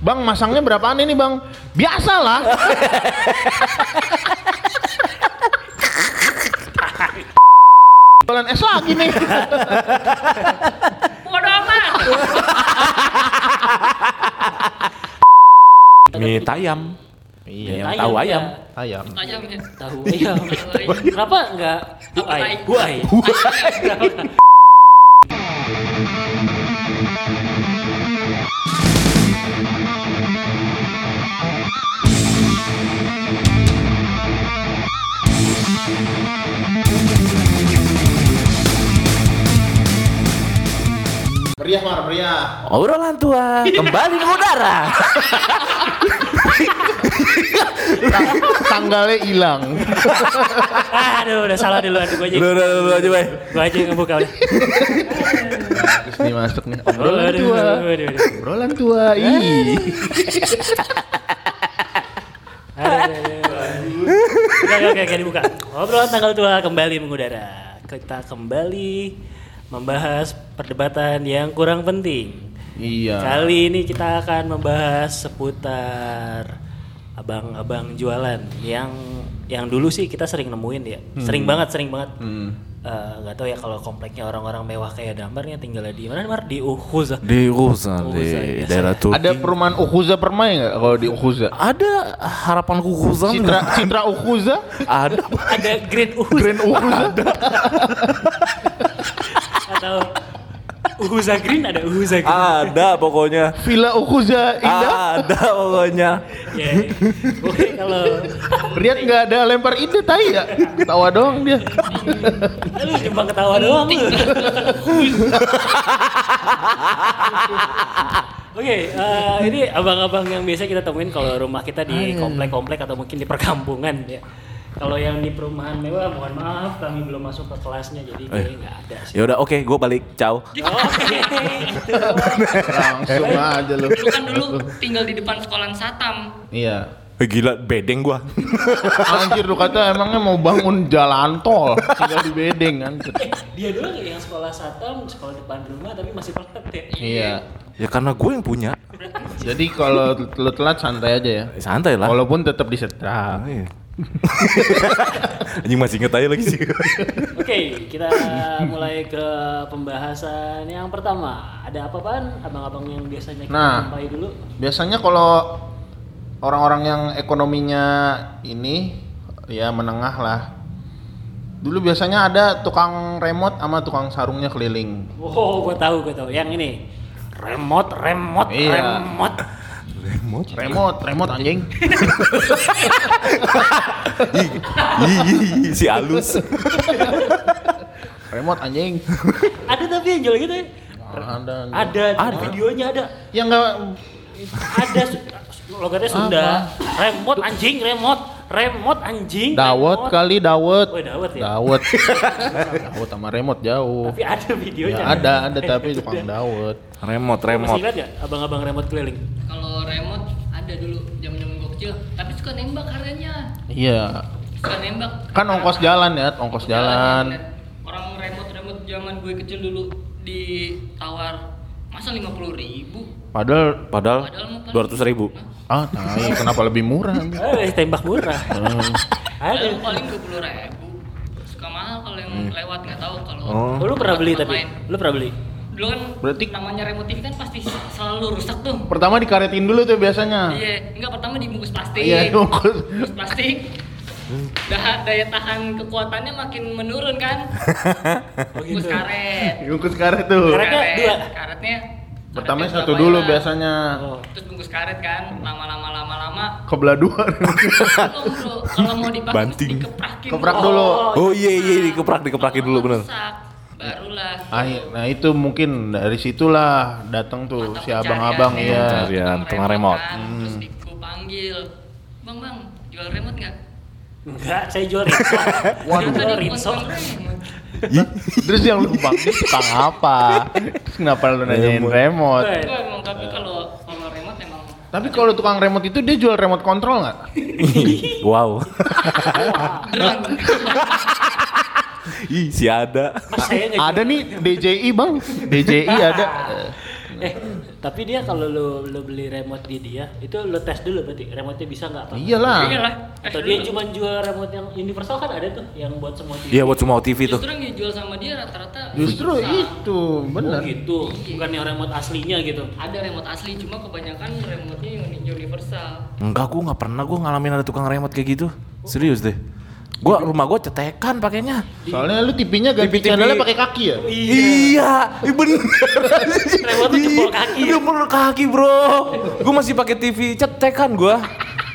Bang, masangnya berapaan ini bang? Biasalah. Jualan es lagi nih. Bodoh amat. Mie tayam. Iya, Ayam, tahu ya. ayam. Ayam. Ayam ya. Tahu ayam. Kenapa enggak buai? Buai. Meriah Mar, meriah. Obrolan tua kembali ke udara. Tang- tanggalnya hilang. Aduh, udah salah duluan gua aja. Lu lu lu aja, Bay. Gua aja yang ngebuka udah. Terus nih masuk nih. Obrolan Aduh, tua. aduh, aduh, aduh. Obrolan tua. Ih. Oke, oke, oke, dibuka. Obrolan tanggal tua kembali mengudara. Kita kembali membahas perdebatan yang kurang penting. Iya. Kali ini kita akan membahas seputar abang-abang jualan yang yang dulu sih kita sering nemuin ya. Sering banget, sering banget. Eh, nggak tahu ya kalau kompleknya orang-orang mewah kayak Dambarnya tinggalnya di mana Dambar? Di Uhuz. Di Rusa, Rusa, di biasa. daerah Turki. Ada perumahan Ukhuza permai nggak kalau di Ukhuza? ada harapan kukusan Citra Citra Ukhuza? ada Ada Green Uhuz Grand Ukhuza? atau Uhuza Green ada Uhuza Green. ada pokoknya Villa Ukhuza Indah? ada pokoknya Ya, ya. Oke, kalau Rian nggak ada lempar ide tai ya? Ketawa doang dia. lu cuma ketawa doang lu. Oke, eh, ini abang-abang yang biasa kita temuin kalau rumah kita di komplek-komplek atau mungkin di perkampungan ya. Kalau yang di perumahan mewah, mohon maaf kami belum masuk ke kelasnya jadi Oh, iya. kayaknya nggak ada sih. ya udah oke gue balik ciao Oke, gitu. Langsung aja lu. Lu kan dulu tinggal di depan sekolahan Satam. Iya. Eh, gila bedeng gua Anjir lu kata emangnya mau bangun jalan tol tinggal di bedeng anjir. Dia doang ya yang sekolah satam, sekolah depan rumah tapi masih praktek ya. Iya. ya karena gue yang punya Jadi kalau lu telat santai aja ya. Eh, santai lah Walaupun tetap disetrap. Ah, iya. anjing masih inget aja lagi sih Oke, kita mulai ke pembahasan yang pertama. Ada apa pan? Abang-abang yang biasanya kita Nah. jumpai dulu. Biasanya kalau orang-orang yang ekonominya ini ya menengah lah. Dulu biasanya ada tukang remote sama tukang sarungnya keliling. Oh, gua tahu, gua tahu. Yang ini. Remote, remote, Iya. remote. remote Remote, remote anjing. Ih, ih, ih, si halus Remote anjing. Ada tapi yang jual gitu ya? Ada. Ya, anjing. Ada, Ada. videonya ada. Yang enggak Ada su- logatnya Sunda. Remote anjing, remote, remote anjing. dawet remote. kali dawet. Oh, dawet ya. Dawet. dawet sama remote jauh. Tapi ada videonya. Ya ada, ada tapi tukang dawet. remote Masih remote ingat nggak abang-abang remote keliling? Kalau remote ada dulu zaman-zaman gua kecil, tapi suka nembak harganya. Iya. Suka nembak. Kan ongkos jalan ya, ongkos ya, jalan. bener. Orang remote-remote zaman gue kecil dulu ditawar masa 50 ribu Padahal padahal dua ratus ribu ah, tai, kenapa lebih murah? Hmm. anjing? Eh, tembak murah. paling ada. paling 20 ribu suka mahal kalau yang Hmm. lewat nggak tahu kalau Oh. Oh, lu pernah beli tapi? Main. Lu pernah beli? dulu kan Berarti- namanya remote TV kan pasti selalu rusak tuh Pertama dikaretin dulu tuh biasanya. iya nggak pertama dibungkus plastik Ah. Iya, ongkos. bungkus plastik Dah, daya tahan kekuatannya makin menurun kan bungkus karet Bungkus karet tuh. Karetnya dua. karetnya Pertama karetnya satu berapa dulu ya? biasanya. terus bungkus karet kan lama-lama lama-lama Kebelah dua. belum, bro. kalau mau dipakai Banting. mesti dikeprakin Keprak dulu. dulu. oh iya iya dikeprak dikeprakin dulu bener Rusak. barulah Ah, i- nah itu mungkin dari situlah datang tuh Mata si abang-abang Hmm. ya. pencariannya, Pencarian, tukang remote. kan. Terus di- gua panggil, bang bang jual remote nggak? Enggak, saya jual rinso. Saya Ternyata dia jual bukan rinso. jual remote. Terus yang lu bang tukang apa? Terus kenapa lu nanyain Remote. remote? Eh, Gua emang tapi kalau kalau remote emang Tapi kalau tukang remote itu dia jual remote control nggak? wow drone. ih si ada Mas saya nggak Ada jual. nih DJI bang, DJI ada. Eh, Tapi dia kalau lu lu beli remote di dia, itu lu tes dulu berarti remote-nya bisa nggak apa? Iya. Iyalah. Iya lah. Atau dia cuma jual remote yang universal kan ada tuh yang buat semua TV. Iya buat semua TV tuh. Justru yang dijual sama dia rata-rata Justru bisa. itu, Oh bener. gitu, bukan yang remote aslinya gitu. Ada remote asli cuma kebanyakan remote-nya uni- universal. Enggak, gua nggak pernah gua ngalamin ada tukang remote kayak gitu. Serius deh. Gua rumah gua cetekan pakainya. Soalnya lu TV-nya ganti TV. channelnya pakai kaki ya? Iya, iya bener. Remote tuh jempol kaki. Iya, jempol kaki, Bro. Gua masih pakai TV cetekan gua.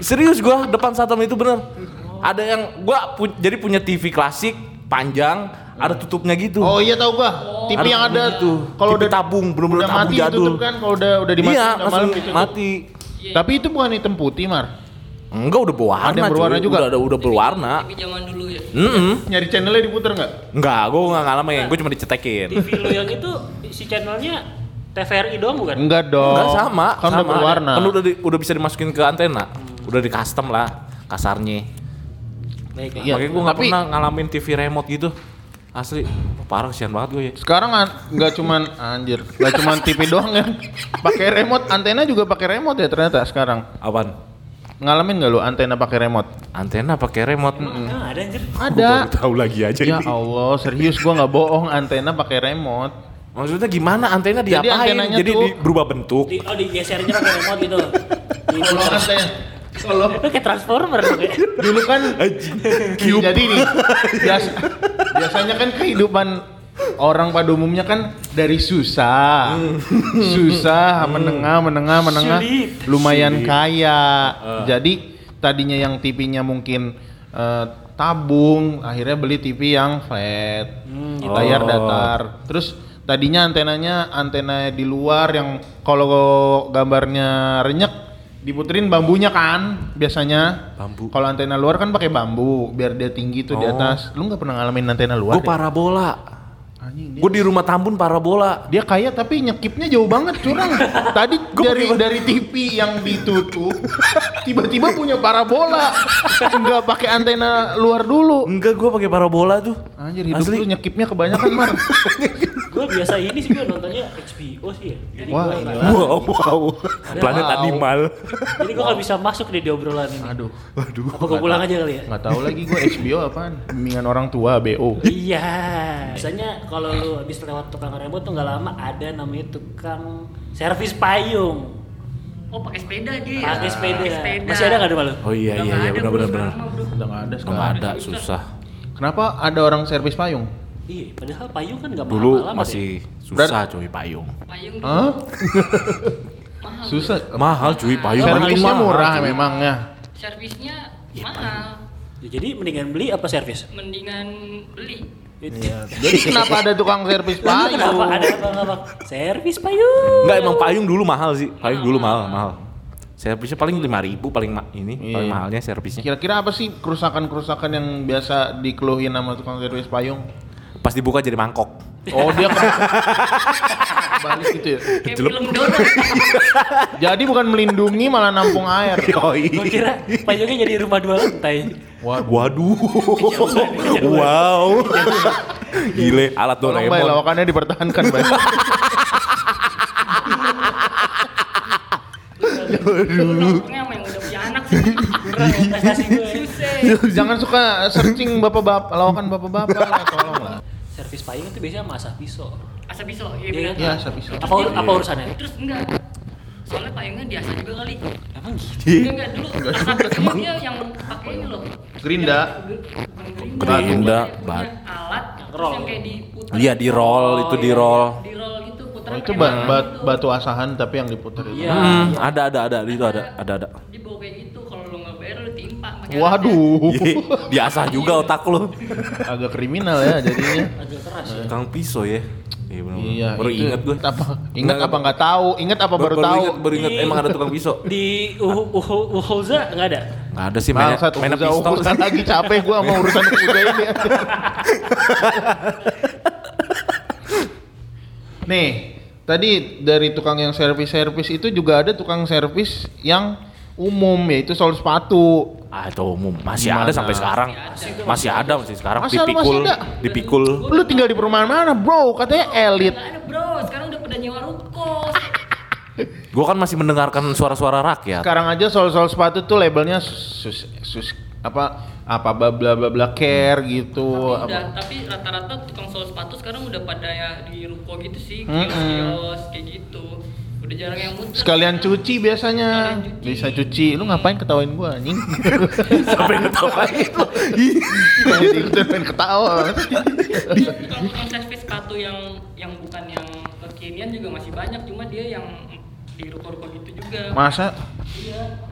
Serius gua depan satam itu bener. Ada yang gua pu- jadi punya TV klasik panjang, ada tutupnya gitu. Oh iya tahu gua. TV yang Ada ada gitu. kalau TV udah tabung, udah bener-bener tabung mati jadul. ditutup kan kalau udah udah dimatiin iya, udah malam gitu langsung ditutup. mati. Tapi itu bukan hitam putih, Mar. Enggak udah berwarna. Ada yang cuy. berwarna juga? Udah ada udah berwarna. Tapi zaman dulu ya. Mm-mm. Nyari channelnya diputer nggak? Enggak, gua enggak ngalamin, gua cuma Iya. dicetekin. TV lu yang itu si channelnya TVRI doang bukan? Enggak dong. Enggak sama, Kan sama. udah berwarna. Kan udah di- udah bisa dimasukin ke antena. Udah di custom lah kasarnya. Baik. Iya, Makanya gue nggak tapi- pernah ngalamin TV remote gitu. Asli, oh, parah kesian banget gue ya. Sekarang an- nggak cuman anjir, nggak cuman TV doang ya. Pakai remote, antena juga pakai remote ya ternyata sekarang. Apaan? Ngalamin nggak lu antena pakai remote? Antena pakai remote. Emang Ah, ada anjir. Ada. Tahu lagi aja Ya ini. Allah, serius gua nggak bohong, antena pakai remote. Maksudnya gimana antena Jadi diapain? Jadi, antenanya Jadi tuh- Iya. di- berubah bentuk. Di, oh digesernya pakai remote gitu. Di- Kalau antena kalau Lu kayak transformer dong ya. dulu kan jadi nih bias- biasanya kan kehidupan orang pada umumnya kan dari susah susah menengah menengah menengah Sulit. lumayan kaya jadi tadinya yang TV-nya mungkin eh, tabung akhirnya beli TV yang flat gitu. layar Oh. datar terus tadinya antenanya antena di luar yang kalau gambarnya renyek diputerin bambunya kan biasanya Bambu. kalau antena luar kan pakai bambu biar dia tinggi tuh di Oh. atas. Lu nggak pernah ngalamin antena luar? Gue ya? parabola. Anjing, dia, Gue di rumah Tambun parabola. dia kaya tapi nyekipnya jauh banget curang. Tadi Gua dari pakai- dari TV yang ditutup tiba-tiba punya parabola. Nggak pakai antena luar dulu. Enggak, gue pakai parabola tuh. Anjir hidup Asli. lu nyekipnya kebanyakan Mar. Gue biasa ini sih gue nontonnya HBO sih ya. Jadi Wah, gua nggak- gila. Wow, wow. Planet Wow. animal. Jadi gue gak bisa masuk deh di obrolan ini. Aduh. Waduh. Apa gue pulang aja kali ya? Nggak tahu lagi gua HBO apaan. Bimbingan orang tua BO. Iya. Biasanya kalau lu habis lewat tukang remote tuh nggak lama ada namanya tukang servis payung. Oh, pakai sepeda dia. ya? Iya. Pakai sepeda. Masih ada nggak di rumah lu? Udah Oh iya iya nggak iya ada, benar bro, benar benar. sekarang mah, bro. Udah nggak ada Enggak sekarang. ada, susah. Kenapa ada orang servis payung? Iya. Padahal payung kan nggak Dulu mahal-mahal amat ya. masih susah cuy payung. Payung Hah? mahal. Susah. Mahal cuy payung. Payung Servisnya mahal, murah cuy. memang ya. Servisnya Iya, mahal. Ya, Jadi mendingan beli apa servis? Mendingan beli. Itu. Iya. Jadi kenapa ada tukang servis Lalu payung? Kenapa ada apa abang Servis payung. Enggak emang payung dulu mahal sih. Payung dulu mahal, mahal. Servisnya paling 5000 paling ma- ini, Iya. paling mahalnya servisnya. Kira-kira apa sih kerusakan-kerusakan yang biasa dikeluhin sama tukang servis payung? Pas dibuka jadi mangkok. Oh dia ke- balik gitu ya. Kayak Jelek. film donat. Jadi bukan melindungi malah nampung air. Gue kira payungnya jadi rumah dua lantai. Waduh. wow. Gile alat Tolong bay, Doraemon. lawakannya dipertahankan bay. Nongkrongnya sama yang udah punya anak sih. Kurang investasi gue. Susah. Iya. Jangan suka searching bapak-bapak, lawakan ya, bapak-bapak lah, tolong lah. Servis payung itu biasanya masak pisau. Asa pisau, iya Iya bener. kan? Ya, servis. Apa ur- apa urusannya? Terus enggak. Soalnya payungnya biasa juga kali. Emang gitu. Enggak enggak dulu. Enggak dia yang pakai ini loh. Gerinda. Yang- bukan Gerinda, dia bat. punya Alat terus Roll. yang kayak diputar. Iya di roll itu iya, di roll. Di roll gitu putar. Oh, itu ba- ba- batu asahan tapi yang diputar itu. Iya. Hmm, ada ada ada itu ada ada ada. Di bawah kayak gitu kalau lu enggak bayar lu timpa Waduh, Ye, Diasah Iya, juga otak lu. agak kriminal ya jadinya. Agak keras ya. Kang pisau ya. Iya benar. Iya, Baru itu ingat gue. Apa, ingat apa nggak tahu, ingat apa baru, Baru tahu. ingat, baru ingat emang ada tukang pisau. Di Uhu- Uhu- Uhuza nggak ada? Enggak ada sih mainnya, Bangsat mainnya urusan pistol. urusan lagi capek gua sama urusan kuda ini. Nih, tadi dari tukang yang servis-servis itu juga ada tukang servis yang umum yaitu sol sepatu. Ah itu umum, masih Gimana? ada sampai sekarang. Masih ada masih sekarang Masa lu Iya, dipikul, masih ada? dipikul. Lu tinggal di perumahan mana, Bro? Katanya elit. Ah, Enggak ada, Bro. Sekarang udah pada nyewa ruko. Gue kan masih mendengarkan suara-suara rakyat. Sekarang aja soal-soal sepatu tuh labelnya sus sus apa apa bla bla bla bla care gitu. Tapi udah, apa. tapi rata-rata tukang sol sepatu sekarang udah pada ya di ruko gitu sih, kios-kios kayak gitu. Udah jarang yang muter. Sekalian cuci biasanya. Sekalian cuci. Bisa cuci. Lu ngapain ketawain gua anjing? Sampai ngetawain lo. Jadi ikutan main ketawa. tukang-tukang servis sepatu yang yang bukan yang kekinian juga masih banyak, cuma dia yang di ruko-ruko gitu juga. Masa Iya.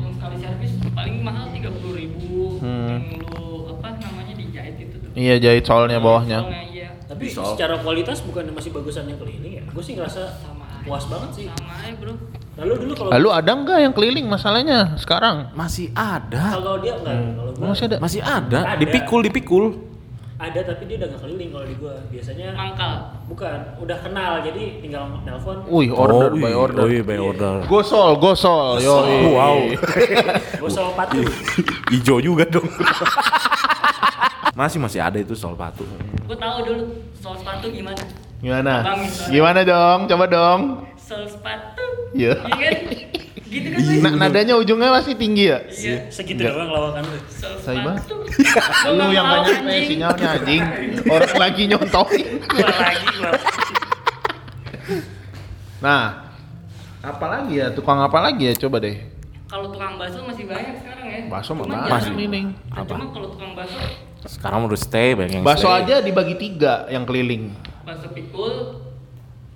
Yang sekali servis paling mahal 30.000 ribu Hmm. yang lu apa namanya dijahit itu tuh. iya jahit soalnya bawahnya. Soalnya iya. Tapi Bisa. secara kualitas bukan masih bagusan yang keliling ya. Gue sih ngerasa Sama aja. puas banget sih. Sama aja, Bro. Lalu Nah, dulu kalau Lalu Ah, ada nggak yang keliling masalahnya sekarang? Masih ada. kalau dia enggak, kalau ah. gua Hmm. Masih ada. Masih ada. Ada. Dipikul, dipikul. ada tapi dia udah gak keliling kalau di gua. Biasanya Mangkal. bukan, udah kenal jadi tinggal nelpon. Wih, order Oh, by iya, order. oh iya, by order. Gosol, gosol. Yo. Wow. Gua sama patu. Ijo juga dong. masih masih ada itu soal patu. Gue tahu dulu soal sepatu gimana. Gimana? Abang misalnya. Gimana dong? Coba dong. Soal sepatu. Iya. Iya kan? Gitu kan. Na- Bay? nadanya ujungnya masih tinggi ya? Iya. Segitu Enggak. doang lawakan lu. Soal Say, Bang. sepatu. Gua Lu nggak yang mau, banyak eh, anjing. sinyalnya anjing. Orang lagi nyontokin. Gua lagi gua. Nah, apalagi ya tukang apa lagi ya coba deh. Kalau tukang bakso masih banyak sekarang ya. Bakso mah Cuman banyak. jarang. Masih, Ning. Nah, Apa? Cuma kalau tukang bakso Sekarang udah stay banyak yang Bakso stay. aja dibagi tiga yang keliling. bakso pikul,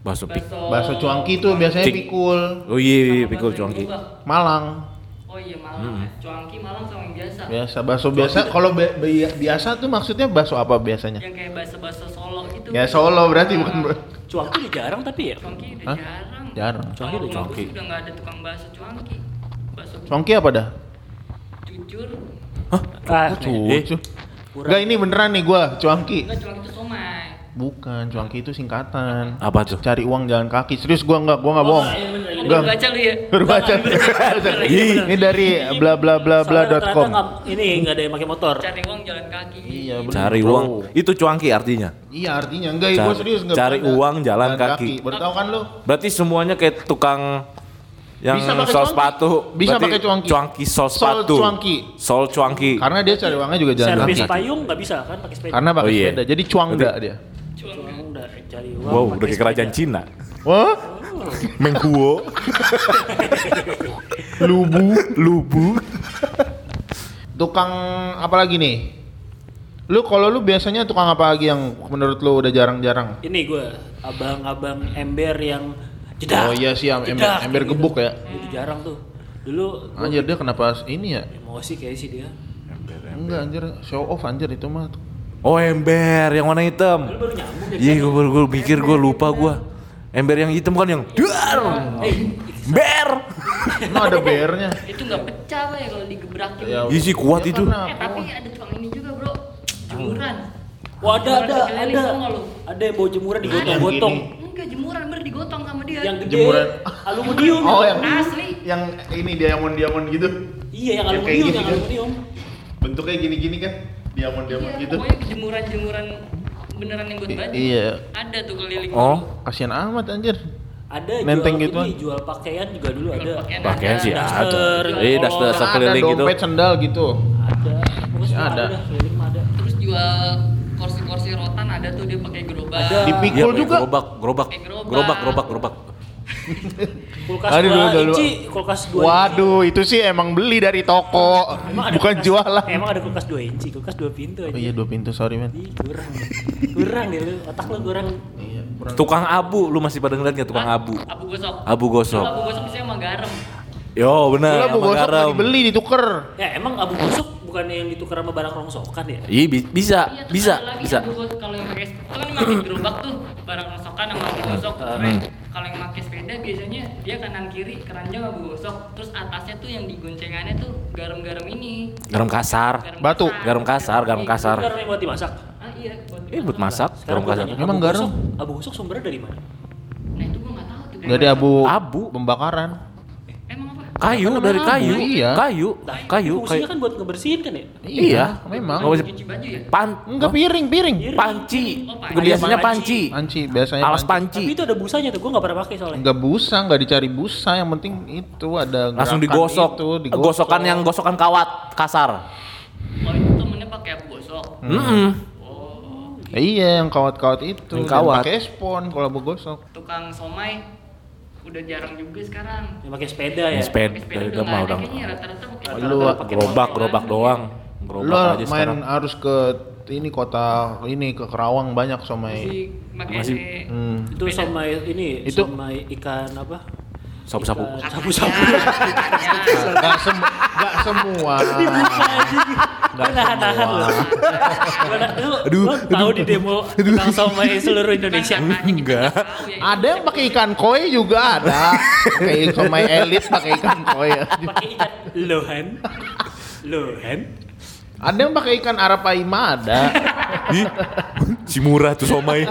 Bakso pik. bakso Bakso cuangki tuh biasanya Cik. pikul, Oh iya, iya, sama pikul bakso yang cuangki. Hmm. berubah. Malang. Oh iya malang. ya. Cuangki malang sama yang biasa. Biasa bakso biasa. Kalau bi- bi- biasa tuh maksudnya bakso apa biasanya? Yang kayak bakso-bakso Solo gitu. Ah. Ya Solo berarti bukan ber- Cuangki udah jarang tapi ya. Cuangki udah Hah? jarang. Jarang. Cuangki Kalau udah rumah gua cuangki. sih udah nggak ada tukang bakso cuangki. Bakso Cuangki apa dah? jujur. Ah, Eh. Cucu. Enggak ini beneran nih gua, cuangki. Enggak cuangki itu somai. Bukan, cuangki itu singkatan. Apa tuh? Cari uang jalan kaki. Serius gua enggak, gua enggak bohong. Oh, iya, Lu Enggak. belum baca lu ya. Baru baca. Ih. Ini dari bla bla bla bla iya. Soalnya dot ternyata com. nggak- ini nggak ada yang pakai motor. Cari uang jalan kaki. Iya, bener. Cari Bro. uang. Itu cuangki artinya. Iya, artinya enggak, gua Cari- serius enggak. cari bercanda. uang jalan kaki. Baru tahu kan lu? Berarti semuanya kayak tukang yang Bisa pakai sol cuangki. sepatu. Bisa Berarti pakai cuangki. Cuangki sol Sol sepatu. cuangki. Sol cuangki. Karena dia cari uangnya juga jalan Servis kaki. payung nggak bisa kan pakai sepeda. Karena pakai Oh, iya. sepeda. Jadi cuang Berarti- enggak dia. Cuangki. Cuang udah cari uang. Wow, pakai udah kayak kerajaan sepeda. Oh. Cina. Wah, Menghuo. Lubu, lubu. tukang apa lagi nih? Lu kalau lu biasanya tukang apa lagi yang menurut lu udah jarang-jarang? Ini gue abang-abang ember yang jedak. Oh iya sih, em- ember, jedak, ember gitu. gebuk ya. Itu jarang tuh. Dulu gua Anjir dia kenapa ini ya? emosi kayak sih dia. Enggak anjir, show off anjir itu mah. Oh ember yang warna hitam. Lu baru nyambung ya. Iya, gue baru gue pikir gue lupa gue. Ember yang hitam kan yang duar. Ber. Emang ada bernya. Itu nggak pecah Bay, kalau digebrakin. Ya, Iya sih kuat Ya itu. karena Eh tapi ada tukang ini juga, Bro. Jemuran. Wah ada ada Keliling, ada. tau nggak lu? Ada yang bawa jemuran digotong-gotong. Yang Enggak jemuran bener digotong sama dia. Yang gede. Jemuran. Aluminium. Oh yang Asli. yang ini diamond diamond gitu. Iya yang Yang kayak aluminium gitu yang kan? aluminium. Bentuknya gini-gini kan? Diamond diamond Iya, gitu. pokoknya jemuran-jemuran beneran yang gue I- baju. iya. Ada tuh keliling. Oh, Kasihan amat anjir. Ada Nenteng jual gitu ini, jual pakaian juga dulu ada. Pakaian pakaian ada. sih Duster. ada. Eh, daster Ada sekeliling gitu. dompet sendal gitu. Ada. Pokoknya semua Ada. ada. dah, Keliling mah ada. Terus jual kursi-kursi rotan ada tuh dia pakai gerobak. Ada. Dipik- Iya, Pikul pakai juga. Gerobak, gerobak, Pakai gerobak. gerobak, gerobak, gerobak. Kulkas Aduh, dua dulu, dulu. inci, kulkas dua inci. Waduh, itu sih emang beli dari toko, Emang ada bukan kulkas- jualan. Emang ada kulkas dua inci, kulkas dua pintu aja. Oh iya dua pintu, sorry men. Ih, kurang. kurang deh lu, otak lu kurang. Iya, kurang. Tukang abu, lu masih pada ngeliat nggak tukang abu? Abu gosok. Abu gosok. Dulu abu gosok biasanya sama garam. Yo benar. Gila, bu gosok nggak dibeli dituker. Ya emang abu busuk bukan yang ditukar sama barang rongsokan ya? Iya bi- bisa, Iya, terus bisa, ada lagi bisa. abu gosok kalau yang pakai itu kan pakai gerobak tuh barang rongsokan sama abu gosok. Hmm. Keren. Kalau yang pakai sepeda biasanya dia kanan kiri keranjang abu gosok. Terus atasnya tuh yang digoncengannya tuh garam-garam ini. Garam kasar. Garam Batu. kasar. Ah, Garam kasar, garam Iya. Itu kasar. Karena yang buat dimasak. Ah iya. buat Eh buat masak. masak, garam Sekarang gua kasar. tanya, Emang abu garam? gosok- abu busuk sumbernya dari mana? Nah itu gua nggak tahu tuh. Dari abu, Abu. pembakaran. Emang apa? Kayu Kan dari namanya kayu, abu, iya. kayu, kayu, kayu. Fungsinya kan buat ngebersihin kan ya? Iya, memang. Nggak bisa- cuci baju ya Pan, Enggak piring, piring. Iya. panci. Oh, panci. Biasanya panci. Panci biasanya Alas Tapi panci. itu ada busanya tuh, gue gak pernah pakai soalnya. Enggak busa, enggak dicari busa, yang penting itu ada gerakan Langsung digosok. Itu, digosok. Gosokan yang gosokan kawat kasar. oh itu temennya pakai abu gosok Hmm. Mm-mm. oh Iya, yang kawat-kawat itu. Yang Dan kawat. Pakai spon kalau mau gosok. tukang somai udah jarang juga sekarang Yang pakai sepeda ya. Sepeda Pakai sepeda udah udah mah nggak ada udah. kayaknya rata-rata pakai Lu pakai Gerobak, motor. gerobak doang. Gerobak Lo aja main sekarang. harus ke ini kota ini ke Kerawang banyak somai. masih pakai E. Masih- Hmm. Itu sama ini, Itu- sama ikan apa? Sapu-sapu. Ikan sapu-sapu Sapu-sapu. kan, ya, Enggak sem- nggak semua. Gue nahan-nahan loh. Gua na- Lu, Aduh, lu tahu di demo tentang somai seluruh Indonesia. enggak Ada yang pakai ikan koi juga ada. Pakai somai elit pakai ikan koi. Pakai ikan lohan. Lohan. Ada yang pakai ikan arapaima ada. Ih, si murah tuh somai.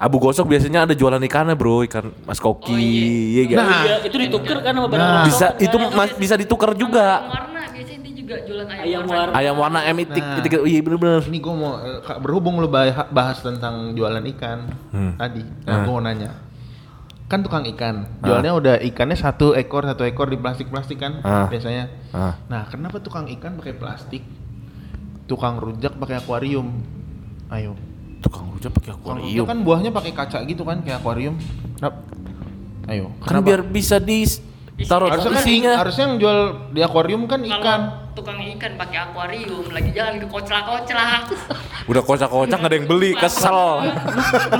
Abu gosok biasanya ada jualan ikannya bro, ikan mas koki, Oh, iya. iya nggak? Nah. Iya, itu ditukar kan sama barang Nah. orang bisa sopan, itu kan? mas, bisa ditukar juga. warna biasanya dia juga jualan ayam, Ayam warna. Ayam warna M itik, Nah. itik- iya bener-bener. Ini gue mau eh, Kak, berhubung lo bahas tentang jualan ikan Hmm. tadi. Nah, gue mau nanya. Kan tukang Ah. ikan, jualnya udah ikannya satu ekor satu ekor di plastik-plastik kan Ah. biasanya. Ah. Nah, kenapa tukang ikan pakai plastik? Tukang rujak pakai akuarium. Ayo. Tukang rujak pakai Tukang akuarium. rujak kan buahnya pakai kaca gitu kan kayak akuarium. Kenapa? Ayo. Kan biar bisa di taruh harusnya kan isinya. harusnya yang jual di akuarium kan ikan. Kalau tukang ikan pakai akuarium lagi jalan ke koclak-koclak. Udah kocak-kocak nggak ada yang beli, kesel.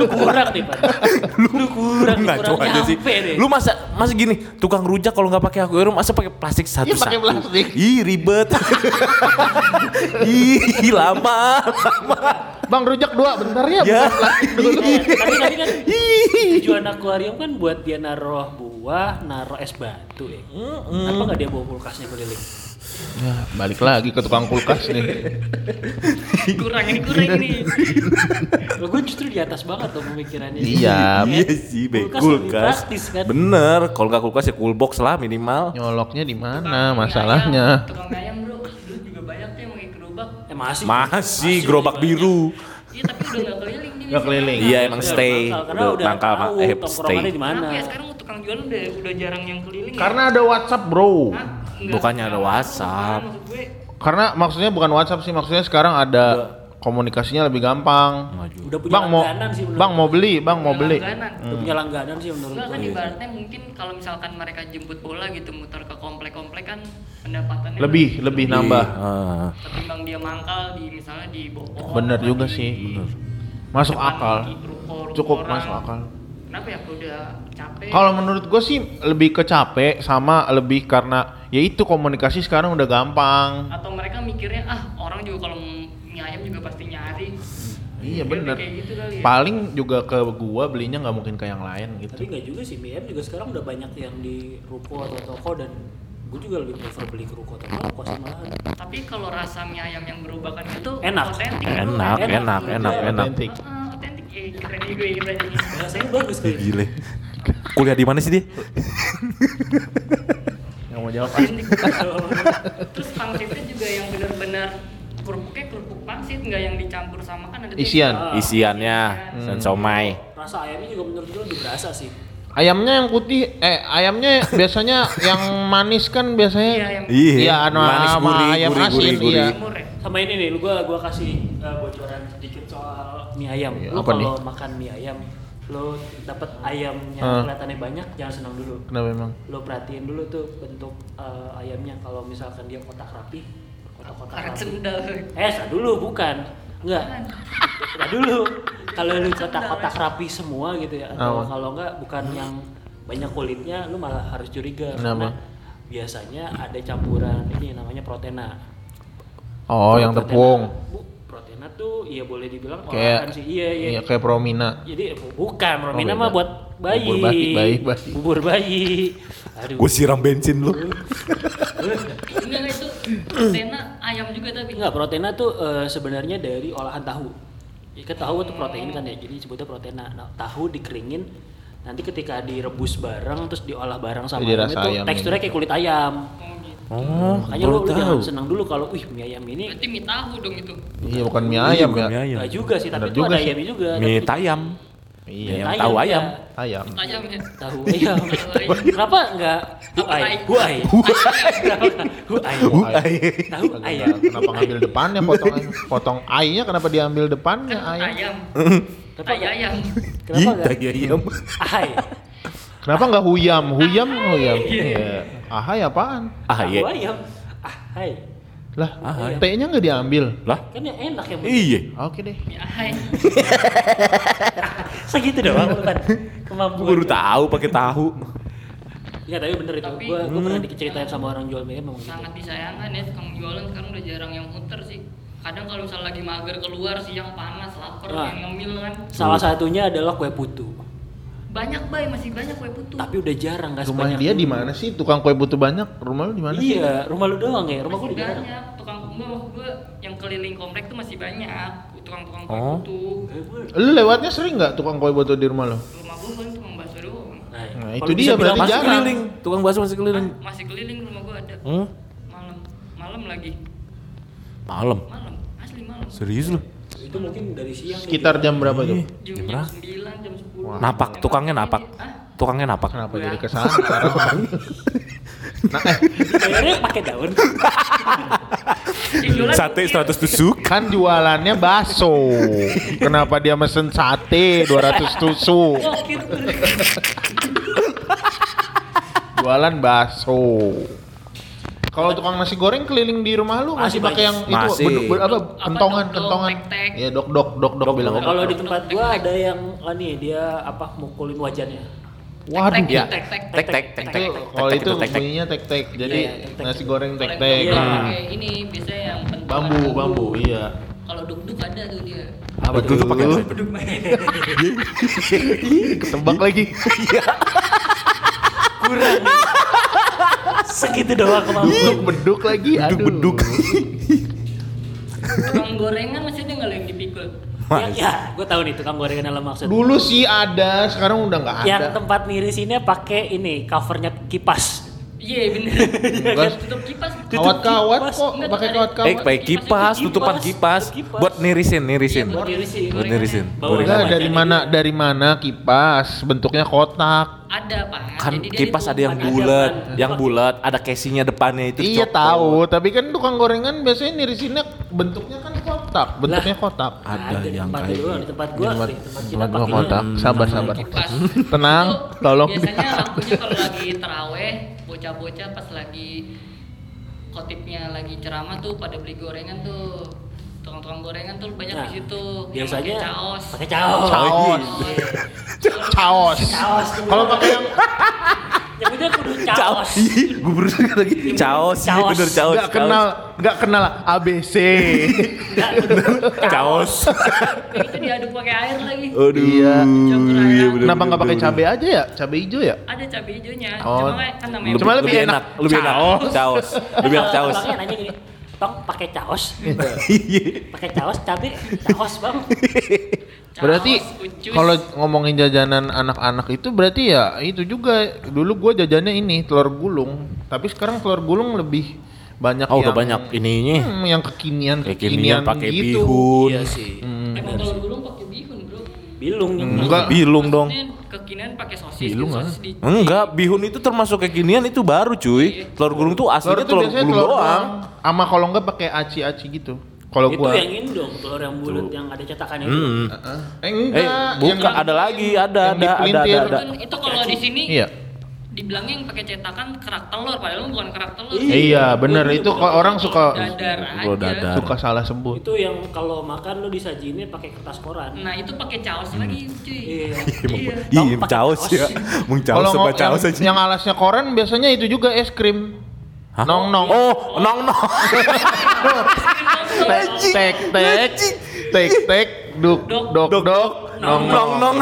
Lu kurang nih, Pak. Lu kurang, lu Ngaco kurang Nah, aja sih. nyampe deh. Lu masa masa gini, tukang rujak kalau nggak pakai akuarium masa pakai plastik satu Iya pakai plastik. Ih ribet. Ih lama. Bang rujak dua bentar ya. Ya. bukan plastik dulu. Iya, Tapi tadi kan Ih. tujuan akuarium kan buat dia naruh buah, naruh es batu ya. Kenapa nggak dia bawa kulkasnya keliling? Ya, balik lagi ke tukang kulkas nih. Kurang ini kurang ini. Lo gue justru di atas banget loh pemikirannya. Iya. Iya sih, be Kulkas lebih kulkas. praktis kan? Bener, kalau nggak kulkas ya coolbox lah minimal. Nyoloknya di mana Tukang ayam, Nah, masalahnya? Tukang ayam, Bro. Dulu juga banyak tuh yang pakai gerobak. Eh, masih. Masih gerobak biru. Iya, tapi udah enggak keliling dia. Nggak keliling. Iya emang Udah stay, mangkal, karena udah udah mangkal tahu eh stay. tongkrongannya di mana. Kenapa ya sekarang tukang jualan udah udah jarang yang keliling. ya? Karena ada WhatsApp, Bro. Hah? Nggak, Bukannya ada nggak tahu, WhatsApp. bukan, maksud gue. Karena maksudnya bukan WhatsApp sih, maksudnya sekarang ada komunikasinya lebih gampang. Maju. Udah punya Bang mau langganan sih menurut Bang mau beli, Bang mau beli. Hmm, Langganan. Udah punya langganan sih menurut Enggak gue. kan ibaratnya mungkin kalau misalkan mereka jemput bola gitu muter ke komplek-komplek kan pendapatannya Lebih, lebih nambah. Ah. ketimbang dia mangkal di misalnya di Bogor. Bener apa juga di sih. Masuk depan akal. di ruko-ruko Cukup orang. masuk akal. Kenapa ya aku udah capek? Kalau menurut gue sih lebih ke capek sama lebih karena ya itu komunikasi sekarang udah gampang. atau mereka mikirnya ah orang juga kalau mie ayam juga pasti nyari. Iya Mungkin bener. Kayak gitu kali ya. Paling juga ke gua belinya nggak mungkin ke yang lain Tapi gitu. nggak juga sih, BM juga sekarang udah banyak yang di ruko atau toko dan gue juga lebih prefer beli ke ruko atau toko sih malahan. Tapi kalau rasa mie ayam yang berubakan itu Enak. Otentik, bro. Enak, enak, enak, enak. Otentik. Ah, Otentik. Eh, keren juga ya, keren juga. Rasanya bagus Ih, kayak. gitu. Gile. Kuliah di mana sih dia? Yang mau jawab Otentik. Terus pangsitnya juga yang benar-benar kerupuknya kerupuk pangsit nggak yang dicampur sama kan ada tuh yang- Isian. Isiannya dan somai. Rasa ayamnya juga menurut gue lebih berasa sih. Ayamnya yang putih, eh ayamnya biasanya yang manis kan Iya, biasanya. yang Iya, anu- sama ayam asin, iya. timur ya. sama ini nih, lu gua gua kasih uh, bocoran sedikit soal mie ayam. Iya, lu apa kalau makan mie ayam, lu dapat ayamnya Ah. kelihatannya banyak, jangan senang dulu. Kenapa emang? Lu perhatiin dulu tuh bentuk uh, ayamnya kalau misalkan dia kotak rapi, kotak-kotak Karet rapi. sendal. Eh, ntar dulu bukan. Enggak. Enggak dulu. Kalau lu kotak-kotak rapi semua gitu ya atau Apa? kalau enggak bukan yang banyak kulitnya lu malah harus curiga. Kenapa? Karena biasanya ada campuran ini namanya proteina. Oh, yang Proteina- tepung. Bu, proteina tuh iya boleh dibilang olahan Kayak sih. Iya, iya. iya, kayak promina. Jadi bu- bukan Romina beda. mah buat bayi. Bubur bayi, bayi, bayi. Bubur bayi. Aduh. Eh, Gue siram bensin lu. Enggak itu tena ayam juga tapi Enggak, proteina tuh eh, sebenarnya dari olahan tahu. Ya, kan tahu itu protein kan ya. Jadi sebutnya proteina. Nah, tahu dikeringin Nanti ketika direbus bareng terus diolah bareng sama Jadi ayam rasa gitu. itu ayam teksturnya ini. kayak kulit ayam. Oh gitu. Oh, Makanya lu, lu jangan senang dulu kalau wih mie ayam ini Berarti mie tahu dong itu. Iya bukan mie ayam ya. enggak juga sih, Bener tapi itu juga ada sih. ayamnya juga. Iya. Mie tapi- tayam. Iya. Ayam tahu ya. ayam. Ayam. Ayam ya. Tahu ayam. Kenapa enggak huai? Huai. Kenapa? Huai. Ay. iya. Tahu Agak ayam. nggak- Kenapa ngambil depannya potong potong ai-nya kenapa diambil depannya Kan ayam? ayam. Iya, Kenapa Tai enggak? ayam. Kenapa enggak? ayam. Ahai. Kenapa nggak huyam? Huyam huyam. Iya. Ahai apaan? Ah Tahu iya. ayam. Ah, Ahai. Lah, Ahai. T-nya nggak diambil. Lah, Kan yang enak ya. Bu. iya. Oke deh. Mie ahai. Segitu doang lu kan Gua kemampuan. baru tahu pakai tahu. Iya tapi bener itu. Tapi- Hmm. Gua gua pernah diceritain sama orang jual mie ayam memang gitu. Sangat disayangkan ya tukang jualan sekarang udah jarang yang muter sih. Kadang kalau misalnya lagi mager keluar siang panas lapar Wah. yang ngemil kan. Salah satunya adalah kue putu. Banyak bay masih banyak kue putu. Tapi udah jarang nggak Rumah sebanyak dia dulu. di mana sih? Tukang kue butuh banyak. Rumah lu di mana? sih? Iya, rumah lu doang ya. Rumah gua masih di jarang. banyak tukang gua gua yang keliling komplek tuh masih banyak tukang-tukang kue Oh. putu. Eh, gua- Lu lewatnya sering nggak tukang kue butuh di rumah lu? Rumah gua kan tukang bakso doang. Nah, Nah, kalau itu bisa dia, bilang berarti masih jarang. keliling. keliling. Tukang bakso masih keliling. Ah, masih keliling rumah gua ada. Hmm? Malam malam lagi. Malam. Malam. Asli malam. Serius lu? Itu mungkin dari siang. Sekitar jam berapa Iya. tuh? Jam, Jam jam berapa? 9, jam 10. Wah. Napak, tukangnya napak. Ah, Tukangnya napak. Kenapa Gua- jadi kesana sekarang? nah, eh, Bayarnya pakai daun. yang eh, jualan Sate mungkin. 100 tusuk. kan jualannya bakso. Kenapa dia mesen sate 200 tusuk? Gokil tuh. Jualan bakso. Kalau tukang nasi goreng keliling di rumah lu masih Masih pakai banyak. yang itu Masih. beduk- be- apa Apa, kentongan dok-dok, kentongan. tek-tek. Iya dok dok dok dok Dok-dok. bilang. Kalau di tempat gua ada yang ah, nih dia apa mukulin wajannya. Waduh. iya. Tek, Ya. tek, tek, Tek tek tek Itu tek. kalau itu tek tek. bunyinya tek tek. Jadi Iya, tek-tek. nasi goreng tek Kalau yang tek. jualan Iya. pakai ini biasanya yang pentungan Bambu dulu. bambu iya. Kalau duk-duk ada tuh dia. Apa Betul tuh pakai tuh? Ketebak lagi. Segitu doang Beduk kemampuan. beduk lagi. Aduh. Beduk-beduk. Tukang gorengan masih ada nggak lo yang dipikul? Yang ya, gua tahu nih tukang gorengan dalam maksud. Dulu sih ada, sekarang udah nggak Yang ada. tempat mirisinnya pakai ini covernya kipas. Iya bener. Enggak. Tutup kipas. Kawat-kawat kipas. kok, Nggak, pakai ada. Eh, kawat-kawat. pakai kipas, tutupan kipas, buat nirisin, nirisin. Buat mirisin. Buat mirisin. Bawa Gorengan. Enggak nama dari aja. mana dari mana kipas bentuknya kotak. Ada pak. Kan Jadi dia kipas ada yang ditumpang. bulat, ada, yang bulat, ada casingnya depannya itu. iya copot. tahu, tapi kan tukang gorengan biasanya nirisinnya bentuknya kan kotak, bentuknya kotak. Ada Nah, di yang tempat kayak lu doang, di tempat gua, Tempat- di tempat kita tempat gua pakai. kotak. Sabar sabar. Kipas. Tenang, Itu tolong. Biasanya lakunya kalau lagi teraweh, bocah-bocah pas lagi kotipnya lagi ceramah tuh pada beli gorengan tuh tukang-tukang gorengan tuh banyak Nah, di situ yang Biasanya pakai caos Pakai caos. Iya. Caos. Caos. Caos. Kalau pakai yang Nyebutnya kudu Caos. caos. Gue baru dengar lagi. Caos. iya, Caos. Bener caos. nggak kenal, nggak kenal ABC. Caos. itu diaduk pakai air lagi Aduh. Iya. Campur ayam. iya, bener, Kenapa nggak bener, pakai bener. cabai aja ya? Cabai hijau ya? ada cabai hijaunya Oh. cuma kayak- kan namanya Lebih, Cuma lebih lebih enak, enak. lebih enak. Caos. Lebih enak caos. Bangnya nanya gini, tong pakai caos, Iya. pakai caos cabe, caos bang. Caos, Berarti ucus. kalau ngomongin jajanan anak-anak itu berarti ya itu juga dulu gua jajannya ini telur gulung, tapi sekarang telur gulung lebih banyak Oh, udah yang- banyak ininya. Hmm, yang kekinian Kekinian pakai gitu. bihun. Iya sih. Hmm. emang kalau dulu pakai bihun bro Bilung Enggak. Bilung dong. Maksudnya kekinian pakai sosis gitu, Bilung, sosis di Enggak, bihun itu termasuk kekinian itu baru cuy. Telur gulung tuh Telur aslinya tuh telur biasanya gulung telur doang. doang. Ama kalau enggak pakai aci-aci gitu. Kalau Itu gua yang ini dong, telur yang bulat yang ada cetakannya. itu. Hmm. Heeh. eh, Eh, enggak, bukan yang- ada lagi, ada yang ada ada ada. dipelintir. ada. Kan itu kalau di sini Iya. dibilangnya yang pakai cetakan kerak telur padahal bukan kerak telur Iya, bener Gua itu juga kok orang suka dadar Gua aja dadar. suka salah sebut. Itu yang kalau makan lu disajinnya pakai kertas koran. nah itu pakai caos Hmm. lagi cuy Iya. iya Ih, Pakai caos caos. ya. Mung caos Kalau sama ngo- caos yang, aja. yang alasnya koran biasanya itu juga es krim. Hah? Nong-nong. Oh, nong nong. tek tek tek tek tek duk Dok, dok dok, dok nong nong nong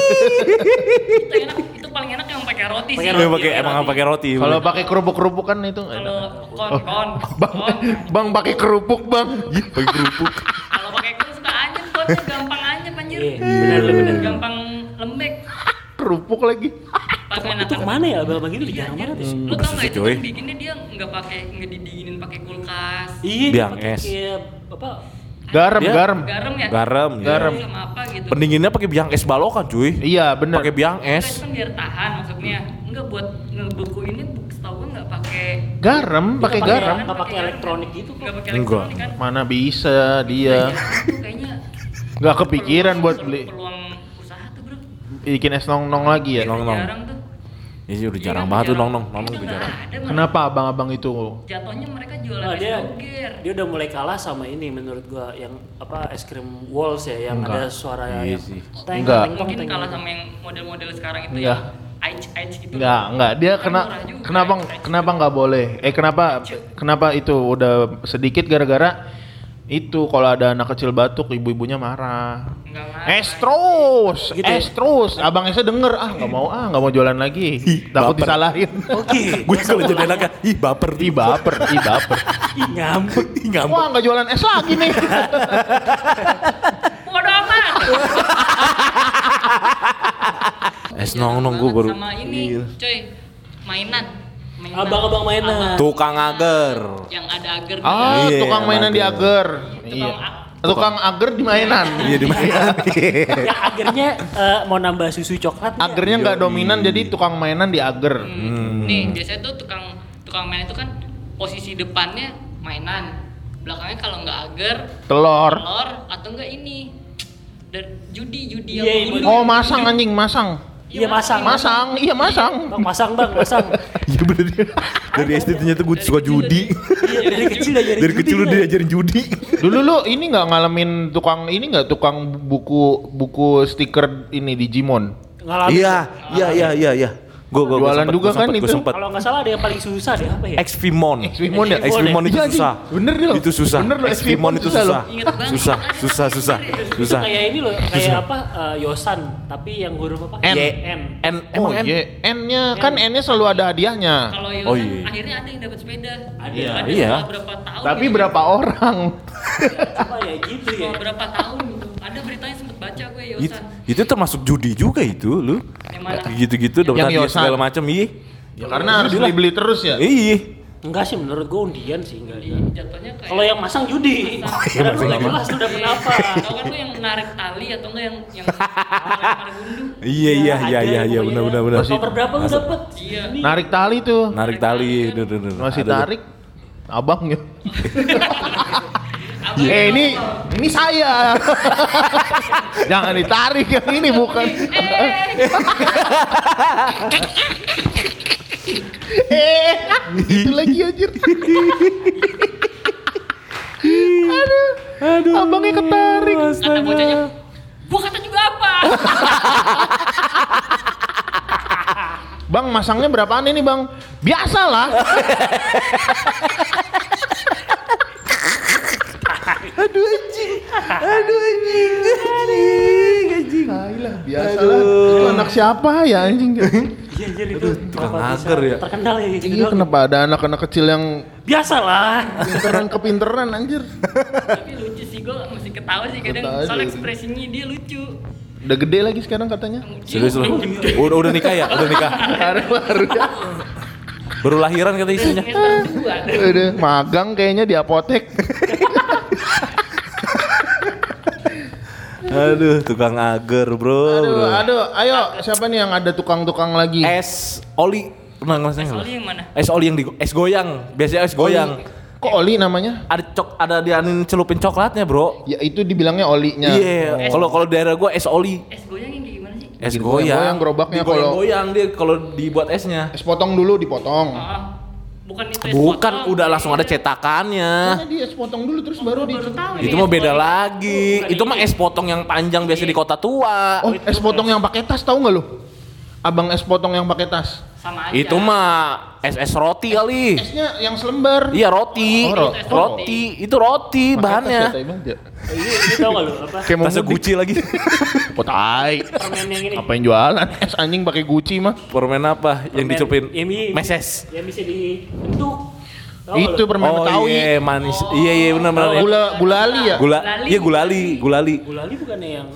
itu enak itu paling enak yang pakai roti sih Pakai Yang Iya, pakai emang yang pakai roti. kalau pakai kerupuk kerupuk kan itu nggak enak. Oh, kalau kon kon bang kon bang pakai kerupuk bang Ih, Iya, pakai kerupuk. kalau pakai kon suka anjir kon gampang anjir anjir Iya, benar, benar. gampang lembek kerupuk lagi. pas main Itu akar- kemana ya abang-abang gitu? Iya, iya. Jarang banget ya. Lu tau Makasih, gak itu coy. kan bikinnya dia nggak pakai nggak didinginin pakai kulkas, Iya, Biang pakai es. kayak apa? Garam, Dia- garam. garam ya? Garam, ya. Garam. Sama apa gitu? Pendinginnya pakai biang es balokan cuy. Iya, bener. Pakai biang Kulkas es. kan biar tahan maksudnya. Enggak buat ngebeku ini setahu gue nggak pakai Iya, Garam, pakai Pakai- garam. nggak pakai elektronik gitu kok. Nggak pakai Enggak. elektronik kan? Mana bisa dia Itu kayaknya nggak Ya. kepikiran buat peluang- beli peluang usaha tuh bro. bikin es nong-nong lagi ya. Nong. Nong-nong. Jarang tuh. Ya sih udah Iya jarang kan, banget tuh jarang. nong-nong, Udah nong-nong udah nggak jarang. ada, malah. Kenapa abang-abang itu? Jatuhnya mereka jualan Nah, es dia doger. dia udah mulai kalah sama ini menurut gua yang apa es krim walls ya yang Enggak. ada suara Iya yang sih. teng, Enggak. teng, teng, Mungkin teng. kalah sama yang model-model sekarang itu Enggak. yang Ice Ice gitu. Enggak, enggak. Dia Kan kena murah juga, kenapa Ice Ice. kenapa nggak boleh? Eh kenapa kenapa itu udah sedikit gara-gara itu kalau ada anak kecil batuk ibu-ibunya marah. Enggak marah. Es terus, Gitu es ya? terus. Abang Esa denger, ah nggak mau ah nggak mau jualan lagi. Takut baper. disalahin. Oke. Gue juga jadi anaknya, ih baper. Ih baper, ih baper. Ih, ngambek. Ih ngambek. Wah nggak jualan es lagi nih. Bodoh amat. Es nong-nong gue baru. Iya, Iya, Sama ini, coy. Mainan. mainan. Iya. Abang-abang mainan. Tukang agar. Yang ada gitu. agar. Ah, Iya, tukang mainan agar. di ager. Tukang Iya. ag- Tukang ager di mainan. Iya di Miami. Ya akhirnya eh, mau nambah susu coklat nggak? Agernya nggak Iya. dominan jadi tukang mainan di ager. Hmm. Nih, biasanya tuh tukang tukang mainan itu kan posisi depannya mainan. Belakangnya kalau nggak agar, Telur. telur atau enggak ini. Dan judi, judi Iya, yang iya. Oh, masang anjing, masang. Iya masang. Masang, iya masang. Bang masang bang masang. Iya bener dia. Dari SD ternyata gue suka judi. Iya dari kecil udah jadi Dari judi kecil lu gua. diajarin judi. Dulu lu ini nggak ngalamin tukang ini nggak tukang buku buku stiker ini Digimon. Ngalamin. Iya, iya, iya, iya, iya. Gue gue Jualan juga kan itu. sempet, Gue sempet. Kalau nggak salah ada yang paling susah deh apa ya? Xvimon. Xvimon ya? Xvimon itu Iya, anjing. susah. Bener dia loh. Itu susah. Bener loh, Xvimon Xvimon itu susah susah. loh. Ingat banget. Susah, susah, susah, Itu susah. kayak ini loh, kayak apa eh, Yosan tapi yang huruf apa? N. Y. N. N, Oh emang N. iya, N-nya kan N-nya selalu ada hadiahnya. Kalau Oh, Yosan iya. akhirnya ada yang dapat sepeda. Ada. Ada Iya. setelah berapa tahun. Tapi gitu. berapa orang? Apa ya gitu ya? Setelah berapa tahun gitu. Ada beritanya sempet baca gue Itu, Yosan. itu termasuk judi juga itu lu. Yang mana? Gitu-gitu Yang dapat hadiah Yosan. segala macam iya. Ya, karena harus dibeli terus ya. Iya. Enggak sih menurut gua undian sih enggak. enggak. Jatuhnya kayak Kalau yang masang judi. Oh, iya, Karena lu nggak jelas lu dapet apa. Tahu kan lu yang narik tali atau enggak yang yang narik gundu? Iya iya iya iya iya benar benar benar. Nomor berapa lu dapet? Iya. Ini. Nah, Narik tali tuh. Narik tali. duh, duh, duh. Masih Aduh. tarik ya. abangnya. Eh Apa yang- ini ini saya. Jangan ditarik yang ini bukan. Eh, Eh, itu lagi anjir. Aduh. Aduh. Abangnya ketarik. kata bocahnya, gua kata juga apa? Bang, masangnya berapaan ini, Bang? Biasalah. Aduh anjing. Aduh anjing. Anjing anjing. Biasalah. Itu anak siapa ya anjing? Iya anjir itu. tukang kenapa agar bisa ya? Terkenal ya gitu Iya, doang. kenapa ada anak-anak kecil yang Biasalah. pinteran kepinteran anjir? Tapi lucu sih gua masih ketawa sih kadang. Ketawa Soalnya aja. ekspresinya dia lucu. Udah gede lagi sekarang katanya. Serius lu. Udah udah nikah ya? Udah nikah. Baru-baru ya. Baru lahiran kata istrinya. Semester dua. Udah magang kayaknya di apotek. Aduh tukang agar bro. Aduh, bro. aduh, ayo siapa nih yang ada tukang-tukang lagi? Es oli. Pernah Es ngerasain nggak? oli yang mana? Es oli yang di es goyang. Biasanya Oh, es goyang. Kok Oli namanya? Ada cok ada dianin celupin coklatnya bro. Ya itu dibilangnya olinya. Iya. Oh. Kalau kalau daerah gua es oli. Es goyang yang kayak gimana sih? Es Digoyang-goyang goyang. gerobaknya kalau- goyang dia kalau dibuat esnya. Es potong dulu dipotong. Ah, bukan itu es Bukan potong. udah langsung ada Karena cetakannya. dia es potong dulu terus baru di Baru tahu nih, Itu mah es beda goyang. lagi. Itu mah es potong yang panjang biasa di kota tua. Oh, es potong yang pakai tas tahu nggak lu? Abang es potong yang pakai tas. Sama aja. Itu mah es es roti kali. Esnya yang selembar. Iya roti. Oh, ro- Roti. Itu Pakai Tas ya, roti bahannya. tai banget ya. Ini Iya, ini tau gak lu apa? Kayak mau Tasnya mudik. Gucci lagi. Potai. Permen yang ini. Apa yang jualan? Es anjing pakai Gucci mah. Permen apa yang Permen dicupin? yang bi- Meses. Yang bisa dibentuk. Tau nggak Itu lu? permen Oh Betawi. iya manis. Iya iya benar benar. Gula gulali ya. Gula. Gulali. Iya gulali, gulali. Gulali bukannya yang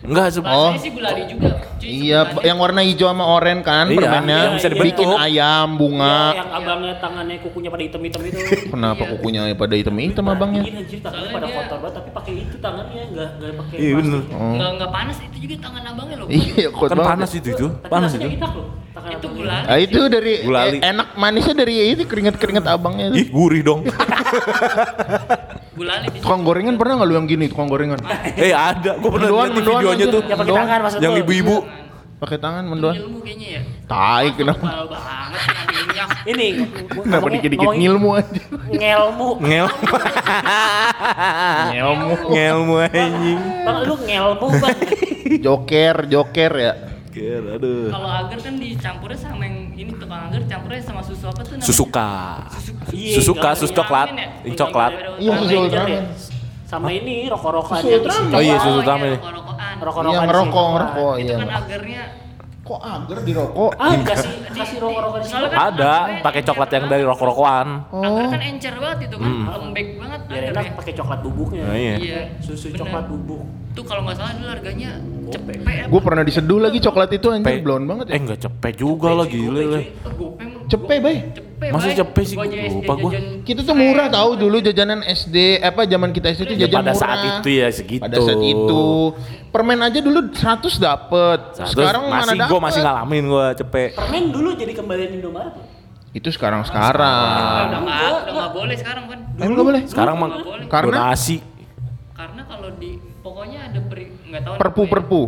Enggak, se- Oh. Rasanya sih gulali juga. cuy, Iya, sebulan. yang warna hijau sama oranye kan Iya, permennya. iya, bisa Bikin dibentuk. Iya, ayam, Ya, bunga. yang abangnya tangannya kukunya pada hitam-hitam itu. Kenapa Iya. kukunya pada hitam-hitam abangnya? Iya anjir tangannya Soalnya pada dia- kotor banget tapi pakai itu tangannya enggak enggak pakai. Iya, plastik. bener. Oh. Nggak, nggak panas itu juga tangan abangnya loh. Iya, kuat kan banget. panas itu itu. Tapi Panas rasanya itu. enak loh. Tangan Itu abangnya. gulali. Ah, itu dari Gulali. eh, enak manisnya dari itu keringet-keringet abangnya Ih, itu. gurih dong. Gulali bisa. Tukang gorengan pernah nggak lu yang gini tukang gorengan? eh, ada. Gua pernah Mendoan, lihat di mendoan videonya aja. tuh. Yang pakai Doang. tangan maksud Yang lu? ibu-ibu. Pakai tangan Itu mendoan. ilmu kayaknya ya. Tai kenapa? Kepal banget kan minyak. Ini Kenapa dikit-dikit ngilmu aja? Ngelmu. Ngel. Ah. Ngelmu. Ngelmu anjing. Bang lu ngelmu, Bang. Joker, joker ya. Ger, aduh. Kalau agar kan dicampurnya sama yang ini tukang agar campurnya sama susu apa tuh namanya? Susuka. Iya, Susuka, enggak sus punya coklat, angin ya? Ih, coklat. Iya, susu Ranger Ultraman. ya? Sama ini rokok-rokokan Susu yang isi Ultraman. coklat. Oh iya, susu Oh, utama ini. rokok-rokokan. Rokok-rokokan Iya isi ngerokok, coklat. ngerokok Itu iya. kan agarnya Kok agar di rokok? Ah, kasih kasih rokok-rokokan isi kan coklat. Ada pakai coklat yang dari rokok-rokokan. Oh. Agar kan encer banget itu kan, Hmm. lembek banget Biar agar enak ya. pakai coklat bubuknya. Nah, iya. Iya. Susu Bener. coklat bubuk. Tuh kalau nggak salah dulu harganya cepet. Gue pernah diseduh lagi coklat itu anjir Pe- blon banget ya. Eh, enggak cepet juga lah gile. Eh, lah. Cepet, Bay. Masa cepet sih? Lupa gua. Kita tuh murah tahu dulu jajanan SD apa zaman kita SD itu jajan Ya, Iya, Pada murah. saat itu ya segitu. Pada saat itu permen aja dulu 100 dapet. sekarang mana masih dapet? gue masih ngalamin gue cepet. Permen dulu jadi kembalian Indomaret. loh. Itu sekarang sekarang. Udah nggak udah nggak boleh sekarang kan. Emang nggak boleh. Sekarang mah Nggak boleh. Karena? donasi. Karena kalau di pokoknya ada peri nggak tahu. Perpu namanya. perpu.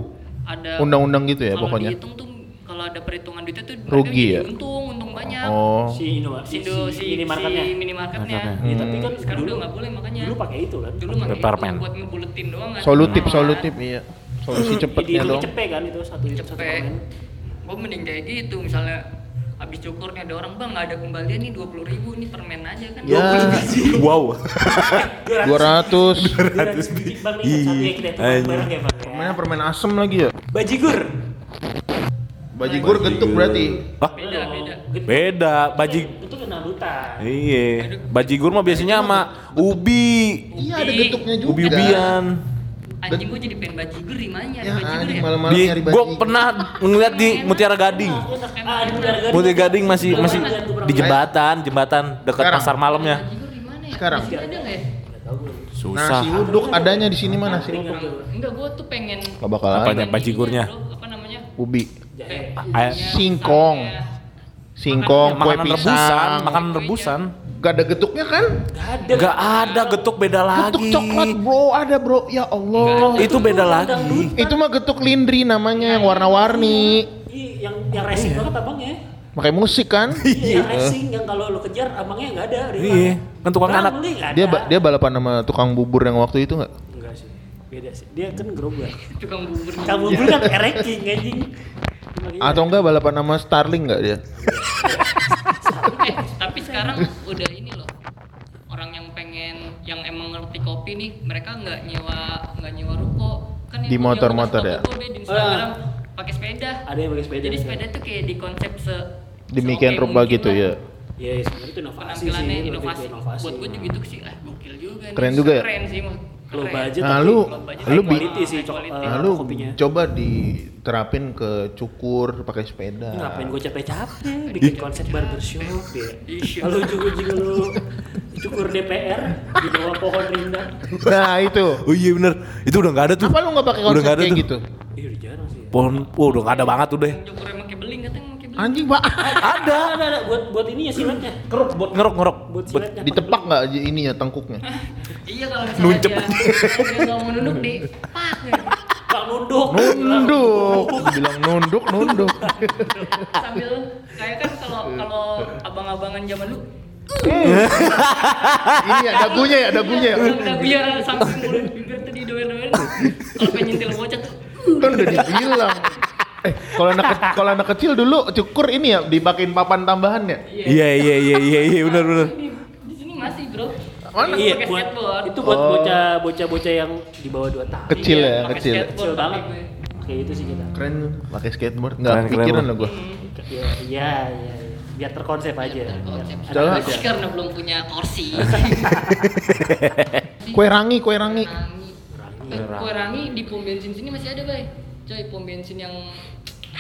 Ada Undang-undang gitu ya kalau pokoknya. dihitung tuh kalau ada perhitungan duitnya tuh mereka Rugi jadi ya? Untung untung banyak. Oh. Hmm. Si Indomaret. Si, Indo- si, ini marketnya. si minimarketnya. Marketnya. Iya, tapi kan Sekarang dulu udah nggak boleh makanya. Dulu pakai itu kan. dulu pakai Peppermint. itu buat ngebuletin doang kan. Solutif solutif iya. Solusi Jadi cepetnya itu ya, dong. cepe kan itu satu itu satu cepet permen. gue mending kayak gitu misalnya habis cukur nih ada orang bang nggak ada kembalian nih dua puluh ribu nih permen aja kan Ya, Wow. 200. 200 biji bang nih satu ya kita hitung bareng ya bang. ya. Permennya permen asem lagi ya. Bajigur. Bajigur getuk berarti. Hah? beda beda Beda. Baji. Itu kenalutan. Iya. Bajigur mah biasanya sama ubi. Iya ada getuknya juga. ya. Ubi-ubian. anjing gue jadi pengen bajigur di mana ya Ya, bajigur anjing ya malam-malam Di, nyari gue bajigur. pernah ngeliat di Mutiara Gading. Ah, di Mutiara Gading. Mutiara Gading masih Gua masih pernah, gua pernah. di jembatan, jembatan dekat Sekarang. pasar malamnya. bajigur di mana ya Sekarang. Di sini ada nggak ya Nasi Susah. uduk adanya di sini mana sih? Ringan tuh. enggak gue tuh pengen Gak bakal ada. Apanya? bajigurnya. Pengen ini, bro, apa namanya Ubi, Jahe. Ay- singkong, singkong, Iya. kue makanan rebusan, pisang. makanan rebusan. Gak ada getuknya kan? Iya. Gak ada getuk beda Getuk lagi. coklat bro, ada bro. Ya Allah. Itu beda lagi. Itu mah getuk lindri namanya yang warna-warni. Ih, yang yang Iya. racing banget abangnya. Pakai musik kan? Iya, yang racing yang kalau lo kejar abangnya nggak ada. dia Iya, bilang, kan tukang "Bang, anak." beli nggak Dia ada." ba- dia balapan sama tukang bubur yang waktu itu nggak? Enggak sih. Beda sih. Dia kan gerobak. tukang bubur Kamu beli kan ereking anjing. Iya. Atau enggak balapan sama Starling nggak dia? eh, tapi sekarang udah ini loh orang yang pengen yang emang ngerti kopi nih mereka nggak nyewa nggak nyewa ruko kan Di yang- yang motor-motor udah ya? suka bobo di Instagram pakai sepeda ada yang pakai sepeda. jadi sepeda tuh kayak di konsep se Demikian seoke rupa mungkin gitu lah. ya. Iya, iya, sebenarnya itu inovasi sih. penampilannya lebih ke inovasi. inovasi. buat gue juga gitu sih ah gokil juga nih. Keren juga ya? keren sih mah Low budget Nah, tapi lu- low budget. lu High bi- quality sih cok. High eh, Nah, lu kopinya. coba diterapin ke cukur pakai sepeda. Ini Ngapain gue capek-capek bikin konsep barbershop ya. Iya. Lalu juga juga lu cukur DPR di bawah pohon rindang. Nah itu. Oh iya bener, itu udah nggak ada tuh. Apa lu nggak pakai Udah konsep nggak ada kayak tuh. gitu? Ih, udah jarang sih. ya. Pohon, wah udah nggak ada banget udah. yang cukur emang kayak beling katanya emang kayak beling Anjing pak. Ada. Ada, ada, ada. Buat buat ininya silatnya. Keruk buat Ngerok ngerok. buat silatnya. Ditepak nggak ininya tengkuknya? iya kalau misalnya Nuncep. dia dia nggak mau nunduk di gitu. pak Bang nunduk. Nunduk, bilang nunduk, nunduk. sambil kayak kan kalau kalau abang-abangan zaman dulu Ini ya dagunya ya, dagunya ya. Dagunya sampai mulut bibir tuh didoer-doerin. Kalau pengen nyentil bocah tuh Kan udah dibilang. Eh, kalau anak ke- kalau anak kecil dulu cukur ini ya dipakein papan tambahan ya. Iya iya iya iya iya bener bener. di, Nah, di sini masih, Bro. Mana? Iya, Pakai buat skateboard. itu buat Oh. bocah bocah-bocah yang di bawah 2 tahun. Kecil Iya, ya, pakai kecil. skateboard Kecil banget. pakai gue. Kayak itu sih kita. Keren lu, pakai skateboard. Enggak Keren, keren kepikiran lu. lah gua. Iya, iya, iya. Biar terkonsep aja. Konsep. Biar Udah lah. anak Tapi muda. karena belum punya kursi. Kue rangi, kue rangi. Nangis. Kurangi. Eh, kue rangi di pom bensin sini masih ada, Bay. Coy, pom bensin yang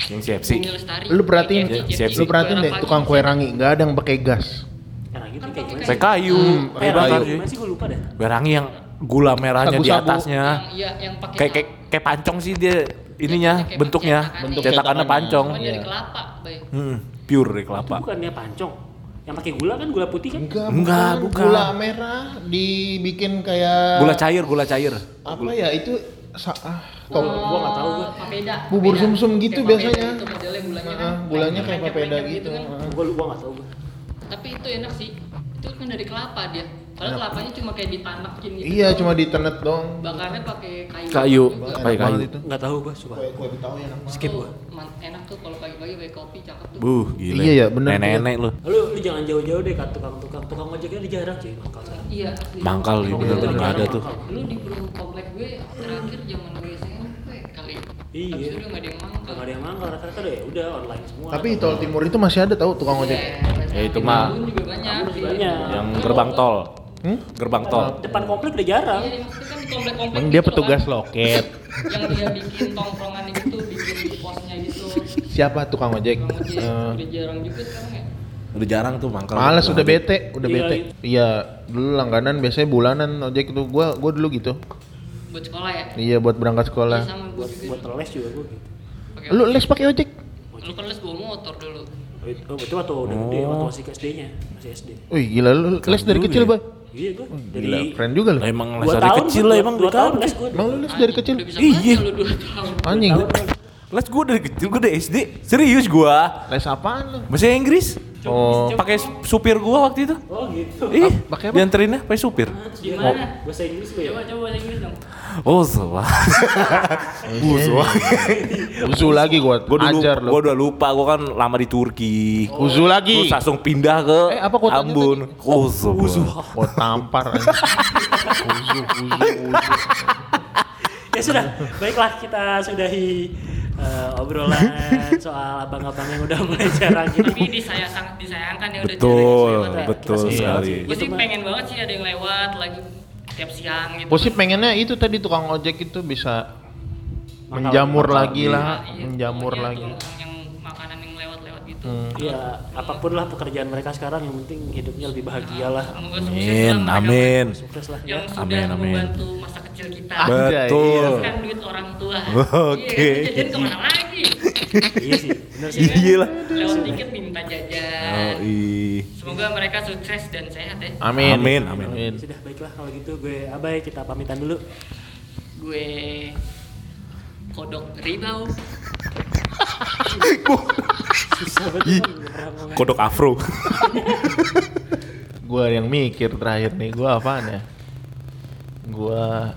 Yang CFC. Bumi Lestari. Lu perhatiin, JFC, Siap, JFC, lu perhatiin kue deh rangi. tukang kue rangi nggak ada yang pakai gas. Karena gitu Kan kayak pakai gimana? Saya kayu, Hmm, Kayak kayak Kayak bakar rangi. ragu, cuy. gimana sih gue lupa dah. Kue rangi yang gula merahnya di Sabu-sabu. Yang atasnya. iya, yang pakai Ya. Kayak kayak kayak pancong sih dia ininya Kayak bentuknya. cetakannya. Bentuk Bentuk cetakannya cetakannya. pancong. Cuman dari Iya. kelapa, Bay. Hmm, pure dari Itu kelapa. bukannya pancong. Yang pakai gula kan gula putih kan? Enggak, Enggak, bukan. bukan. Gula merah dibikin kayak Gula cair, gula cair. apa ya itu sa ah, Gua tau- Oh, gua enggak tahu gua. papeda. Bubur papeda. sumsum gitu Kayak papeda biasanya. Itu modelnya gulanya kan. Ah, gulanya kayak Pencet-pencet papeda gitu gitu. kan. Ah. Gua gua enggak tahu gua. Tapi itu enak sih. Itu kan dari kelapa dia. Padahal kelapanya cuma kayak ditanekin gitu. Iya, cuma ditenet doang. Bakarnya pakai kayu. Gitu. Kayu. Juga. Enak Pakai kayu. banget itu. Enggak tahu gua, coba. Kue betawi enak banget. Skip gua. Tuh, Oh, man- Enak tuh kalau pagi-pagi pakai kopi cakep tuh. Buh, gila. Iya, ya, bener. Nenek-nenek lu. Lu, lu jangan jauh-jauh deh ke tukang-tukang. Tukang ojeknya di jarang cuy, mangkal sekarang. Iya. Mangkal Iya, ya bener bener bener. nggak ada tuh. Lu di perum komplek gue terakhir zaman gue SMP kali. Iya. Abis itu udah nggak ada yang mangkal. Iya, Enggak ada yang mangkal rata-rata deh, udah online semua. Tapi tol timur itu masih ada tahu tukang Iya, ojek. banyak. Ya, itu mah. Tambun juga banyak. Iya, Tambun juga banyak. Yang gerbang kan tol. Hmm? Gerbang tol. depan komplek udah jarang. Iya, maksudnya kan di komplek-komplek Emang dia gitu kan. petugas loket. yang dia bikin tongkrongan gitu, bikin posnya gitu. Siapa tukang ojek? Tukang ojek, Eh, udah jarang juga sekarang ya. Udah jarang tuh mangkal. Males udah Mangkal. bete, udah Iya, bete. Iya, dulu langganan biasanya bulanan ojek itu gua gua dulu gitu. Buat sekolah ya. Iya buat berangkat Iya sekolah. sama gue Buat juga. buat les juga gua gitu. Pakai Lu les pakai ojek? Lu kan les bawa motor dulu. Oh, Itu oh, itu waktu udah gede, waktu masih SD-nya, masih SD. Wih gila lu les dari dulu kecil, ya. Bay. Iya gua. Gila, keren juga lu. Lah emang les Dua dari tahun kecil gua- lah emang dua dari tahang kampung. les gua. Emang lu les dari kecil? Udah bisa Iya. baca lu 2 tahun. Anjing. Dua tahun Les gua dari kecil, gua dari SD. Serius gua. Les apaan lu? Bahasa Inggris. Oh, Pakai supir gua waktu itu. Oh gitu. Ih, pakai apa? dianterinnya pakai supir. Gimana? Bahasa Inggris gue ya. Coba coba bahasa Inggris dong. Oh, salah. Iya, Busu. usul lagi gua Gua dulu ajar lu. gua udah lupa, gua kan lama di Turki. Usul lagi. Terus langsung pindah ke Eh, apa kotanya Ambon. Oh, Usu. Gua tampar anjing. Usul, usul, usul. Ya sudah, baiklah kita sudahi eh, obrolan soal abang-abang yang udah mulai jarang gitu. Tapi di saya sangat disayangkan ya udah Betul, jarang yang lewat ya. betul Iya. sekali. Gue sih pengen banget sih ada yang lewat lagi tiap siang gitu. Gua sih pengennya itu tadi tukang ojek itu bisa menjamur lagi lah, Iya, menjamur pokoknya lagi. Hmm. tukang yang makanan yang lewat-lewat gitu. Iya, Ya, apapun lah pekerjaan mereka sekarang yang penting hidupnya lebih bahagia lah. Semoga sukses Iya, Amin, lah mereka amin. Sukses lah ya. Yang sudah Amin, amin. membantu masa kecil kita. Ah, Betul. Bukan duit orang tua. Oke. Iya, kan jajan kemana lagi? Iya sih, benar sih. Iya lah. Lewat dikit minta Oh, jajan. ih. Semoga mereka sukses dan sehat ya. Amin. Amin, amin. Sudah baiklah kalau gitu gue abai kita pamitan dulu. Gue kodok ribau. Susah banget Bang, nggak pernah ngomong. Kodok afro. Gua yang mikir terakhir nih, gua apaan ya? Gua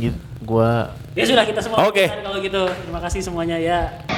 gitu, gua Ya sudah kita semua Oke. pamitan kalau gitu. Terima kasih semuanya ya.